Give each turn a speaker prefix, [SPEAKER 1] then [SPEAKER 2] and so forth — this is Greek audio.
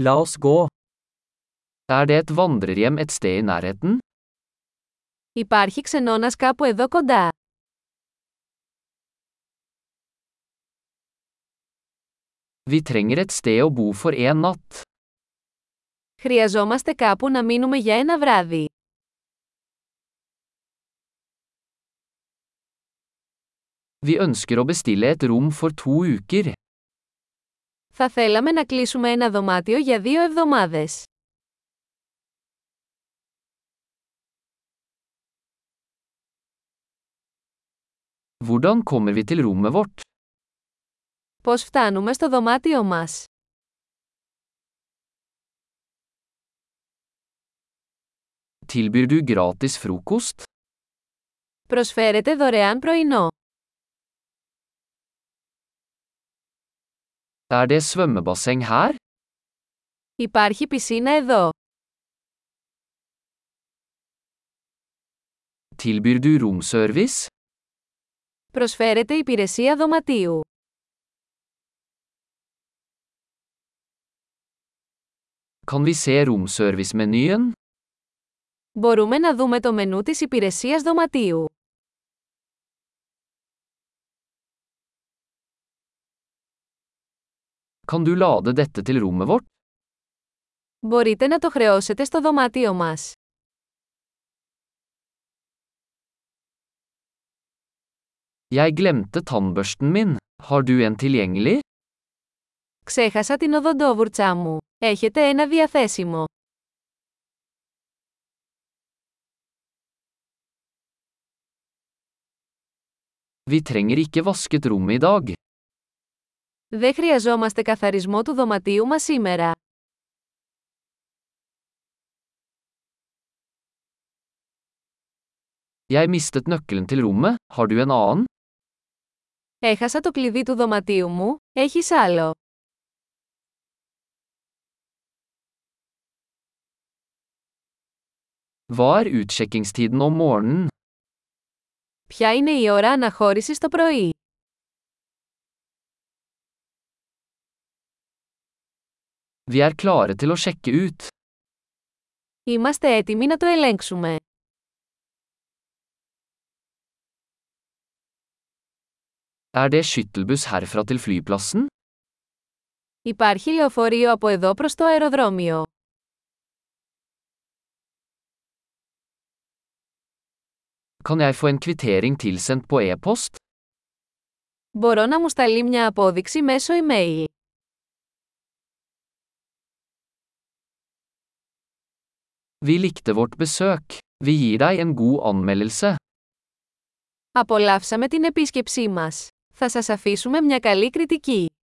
[SPEAKER 1] La oss gå. Er det et vandrerhjem et sted i nærheten?
[SPEAKER 2] Υπάρχει ξενώνας κάπου εδώ κοντά.
[SPEAKER 1] Vi trenger et sted å bo for en natt.
[SPEAKER 2] Χρειαζόμαστε κάπου να μείνουμε για ένα βράδυ.
[SPEAKER 1] Vi ønsker å bestille et rom for to uker.
[SPEAKER 2] Θα θέλαμε να κλείσουμε ένα δωμάτιο για δύο εβδομάδες.
[SPEAKER 1] Hvordan kommer vi til rommet vårt?
[SPEAKER 2] Πώς φτάνουμε στο δωμάτιο μας.
[SPEAKER 1] Tilbyr du gratis frokost?
[SPEAKER 2] Προσφέρετε δωρεάν πρωινό.
[SPEAKER 1] Er det svømmebasseng her?
[SPEAKER 2] Υπάρχει πισίνα εδώ.
[SPEAKER 1] Tilbyr du romservice?
[SPEAKER 2] Προσφέρετε υπηρεσία δωματίου.
[SPEAKER 1] Kan vi se romservice-menyen?
[SPEAKER 2] Μπορούμε να δούμε το μενού της υπηρεσίας δωματίου.
[SPEAKER 1] Kan du lade dette til rommet vårt?
[SPEAKER 2] Μπορείτε να το χρεώσετε στο δωμάτιο μας.
[SPEAKER 1] Jeg glemte tannbørsten min. Har du en tilgjengelig?
[SPEAKER 2] Ξέχασα την οδοντόβουρτσά μου. Έχετε ένα διαθέσιμο.
[SPEAKER 1] Vi trenger ikke vasket rommet i dag.
[SPEAKER 2] Δεν χρειαζόμαστε καθαρισμό του δωματίου μας σήμερα.
[SPEAKER 1] Jeg mistet nøkkelen til rommet, har du en annen?
[SPEAKER 2] Έχασα το κλειδί του δωματίου μου, έχεις άλλο.
[SPEAKER 1] Hva er utsjekkingstiden om morgenen?
[SPEAKER 2] Ποια είναι η ώρα αναχώρησης το πρωί.
[SPEAKER 1] Vi er klare til å sjekke ut.
[SPEAKER 2] Είμαστε έτοιμοι να το ελέγξουμε.
[SPEAKER 1] Er det skyttelbuss herfra til flyplassen?
[SPEAKER 2] Υπάρχει λεωφορείο από εδώ προς το αεροδρόμιο.
[SPEAKER 1] Kan jeg få en kvittering tilsendt på e-post?
[SPEAKER 2] Μπορώ να μου σταλεί μια απόδειξη μέσω email.
[SPEAKER 1] Vi likte vårt besøk. Vi gir deg en god anmeldelse.
[SPEAKER 2] Απολαύσαμε την επίσκεψή μας. Θα σας αφήσουμε μια καλή κριτική.